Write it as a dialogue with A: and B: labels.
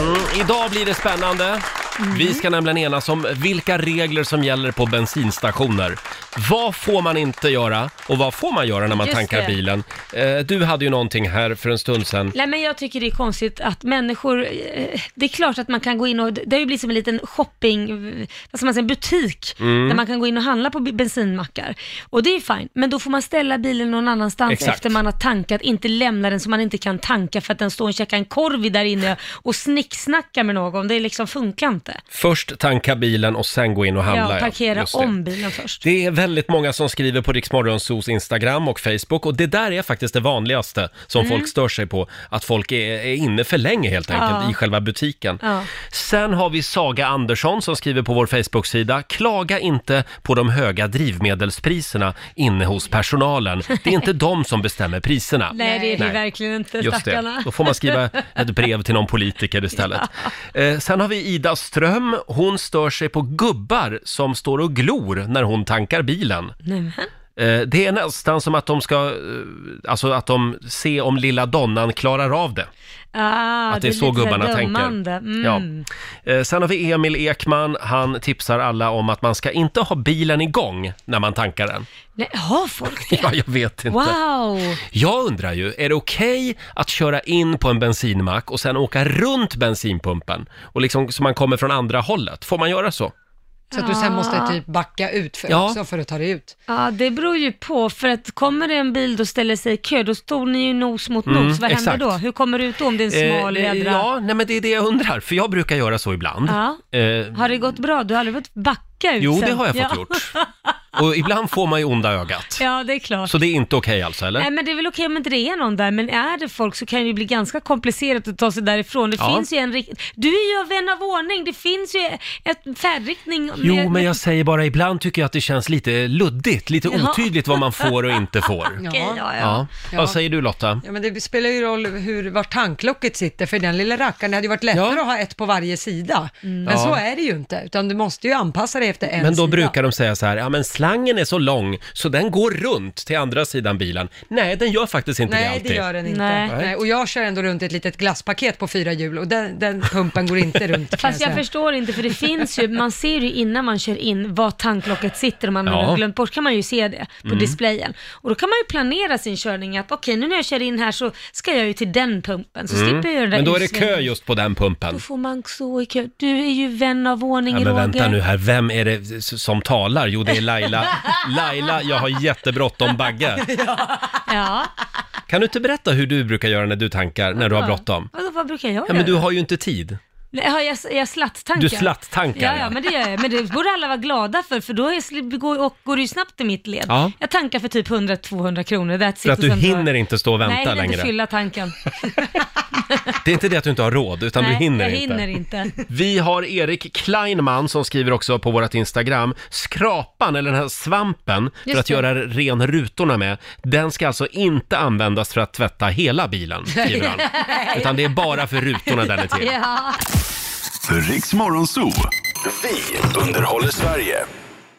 A: Mm, Idag blir det spännande.
B: Mhm.
A: Vi ska nämligen enas om vilka regler som gäller på bensinstationer. Vad får man inte göra och vad får man göra när man
B: Just
A: tankar
B: det.
A: bilen? Eh, du hade ju någonting här för en stund sedan.
B: Nej men jag tycker det är konstigt att människor, eh, det är klart att man kan gå in och, det har ju blivit som en liten shopping, eh, vad ska man säga, en butik,
C: Mm.
B: där man kan gå in och handla på b- bensinmackar. Och det är ju fint, men då får man ställa bilen någon annanstans
C: Exakt.
B: efter man har tankat, inte lämna den så man inte kan tanka för att den står och käkar en korv i där inne och snicksnackar med någon, det liksom funkar inte.
A: Först tanka bilen och sen gå in och handla.
B: ja,
A: ja.
B: parkera
A: Just det.
B: om bilen först.
A: Det är väldigt många som skriver på Riksmorgonsos Instagram och Facebook och det där är faktiskt det vanligaste som
B: Mm.
A: folk stör sig på. Att folk är, är inne för länge helt enkelt
B: Ja.
A: i själva butiken.
B: Ja.
A: Sen har vi Saga Andersson som skriver på vår Facebook-sida Klaga inte på de höga drivmedelspriserna inne hos personalen. Det är inte de som bestämmer priserna.
B: Nej, det är det verkligen inte,
A: Just
B: stackarna.
A: det. Då får man skriva ett brev till någon politiker istället. Eh, sen har vi Ida Ström. Hon stör sig på gubbar som står och glor när hon tankar bilen.
B: Nej, men.
A: Eh, det är nästan som att de ska, eh, alltså att de ser om lilla donnan klarar av det.
B: Ah,
A: att det är så
B: lite
A: gubbarna
B: dömande.
A: tänker.
B: Mm.
A: Ja. Eh, sen har vi Emil Ekman. Han tipsar alla om att man ska inte ha bilen igång när man tankar den.
B: Nej, har folk det?
A: Ja, jag vet inte.
B: Wow!
A: Jag undrar ju, är det okej att köra in på en bensinmack och sen åka runt bensinpumpen? Och liksom så man kommer från andra hållet. Får man göra så? Eh,
D: Så att du sen måste typ backa ut för
A: Ja.
D: också för att ta dig ut.
B: Ja, det beror ju på, för att kommer det en bil och ställer sig i kö, då står ni ju nos mot
A: Mm,
B: nos. Vad
A: exakt.
B: händer då? Hur kommer du ut då om det är en smal
A: Eh, det-
B: jädra...
A: ja, nej men det är det jag undrar, för jag brukar göra så ibland.
B: Ja.
A: Eh,
B: Har det gått bra? Du har aldrig fått backa ut
A: jo,
B: sen?
A: det har jag fått
B: ja.
A: gjort. Och ibland får man ju onda ögat.
B: Ja, det är klart.
A: Så det är inte okej alltså, eller?
B: Nej, men det är väl okej om inte det är någon där, men är det folk så kan det ju bli ganska komplicerat att ta sig därifrån. Det
A: Ja.
B: finns ju en rikt... Du är ju vän av ordning, det finns ju en färdriktning. med-
A: Jo, men jag säger bara ibland tycker jag att det känns lite luddigt, lite
B: Ja.
A: otydligt vad man får och inte får.
D: Okej, ja, ja. Ja.
A: Vad säger du Lotta?
D: Ja, men det spelar ju roll hur, var tanklocket sitter för den lilla rackaren. Det hade ju varit lättare att ha ett på varje sida. Men
A: Ja.
D: så är det ju inte, utan du måste ju anpassa dig efter en
A: Men då
D: sida.
A: brukar de säga så här, ja men slangen är så lång så den går runt till andra sidan bilen. Nej, den gör faktiskt inte det
D: Nej,
A: alltid.
D: det gör den inte.
A: Nej.
D: Nej. Och jag kör ändå runt ett litet glasspaket på fyra hjul och den, den pumpen går inte runt. kan
B: Fast jag
D: säga.
B: förstår inte, för det finns ju, man ser ju innan man kör in var tanklocket sitter, om man
D: Ja.
B: har glömt bort kan man ju se det på
D: Mm.
B: displayen. Och då kan man ju planera sin körning att okej, nu när jag kör in här så ska jag ju till den pumpen, så
A: Mm.
B: slipper jag den där
A: Men då är det
B: utsvängningen.
A: kö just på den pumpen.
B: Då får man stå i kö. Du är ju vän av ordning,
A: Ja, men
B: Roger.
A: vänta nu här, vem är det s- som talar? Jo, det är Laila. Laila, jag har jättebråttom Bagge.
B: Ja,
A: Kan du inte berätta hur du brukar göra när du tankar, när du har
B: Ja.
A: bråttom?
B: Vadå, vad brukar jag göra?
A: Ja, men du har ju inte tid.
B: Nej, har jag, jag slatt-tankar?
A: Du slatt-tankar,
B: ja.
A: ja.
B: ja, men det gör jag. Men det borde alla vara glada för, för då är, sli- går, och, går det ju snabbt i mitt led.
A: Ja.
B: Jag tankar för typ 100-200 kronor, that's it.
A: För att
B: och
A: du
B: sen drar jag.
A: hinner inte stå och
B: Nej,
A: vänta
B: jag hinner
A: längre.
B: inte fylla tanken.
A: Det är inte det att du inte har råd, utan
B: Nej,
A: du hinner
B: jag
A: inte.
B: hinner inte.
A: Vi har Erik Kleinman som skriver också på vårt Instagram. Skrapan, eller den här svampen för
B: Just
A: att
B: det.
A: göra ren rutorna med, den ska alltså inte användas för att tvätta hela bilen, skriver han. Utan det är bara för rutorna den är till.
B: Ja.
E: Riks Morgonzoo. Vi underhåller Sverige.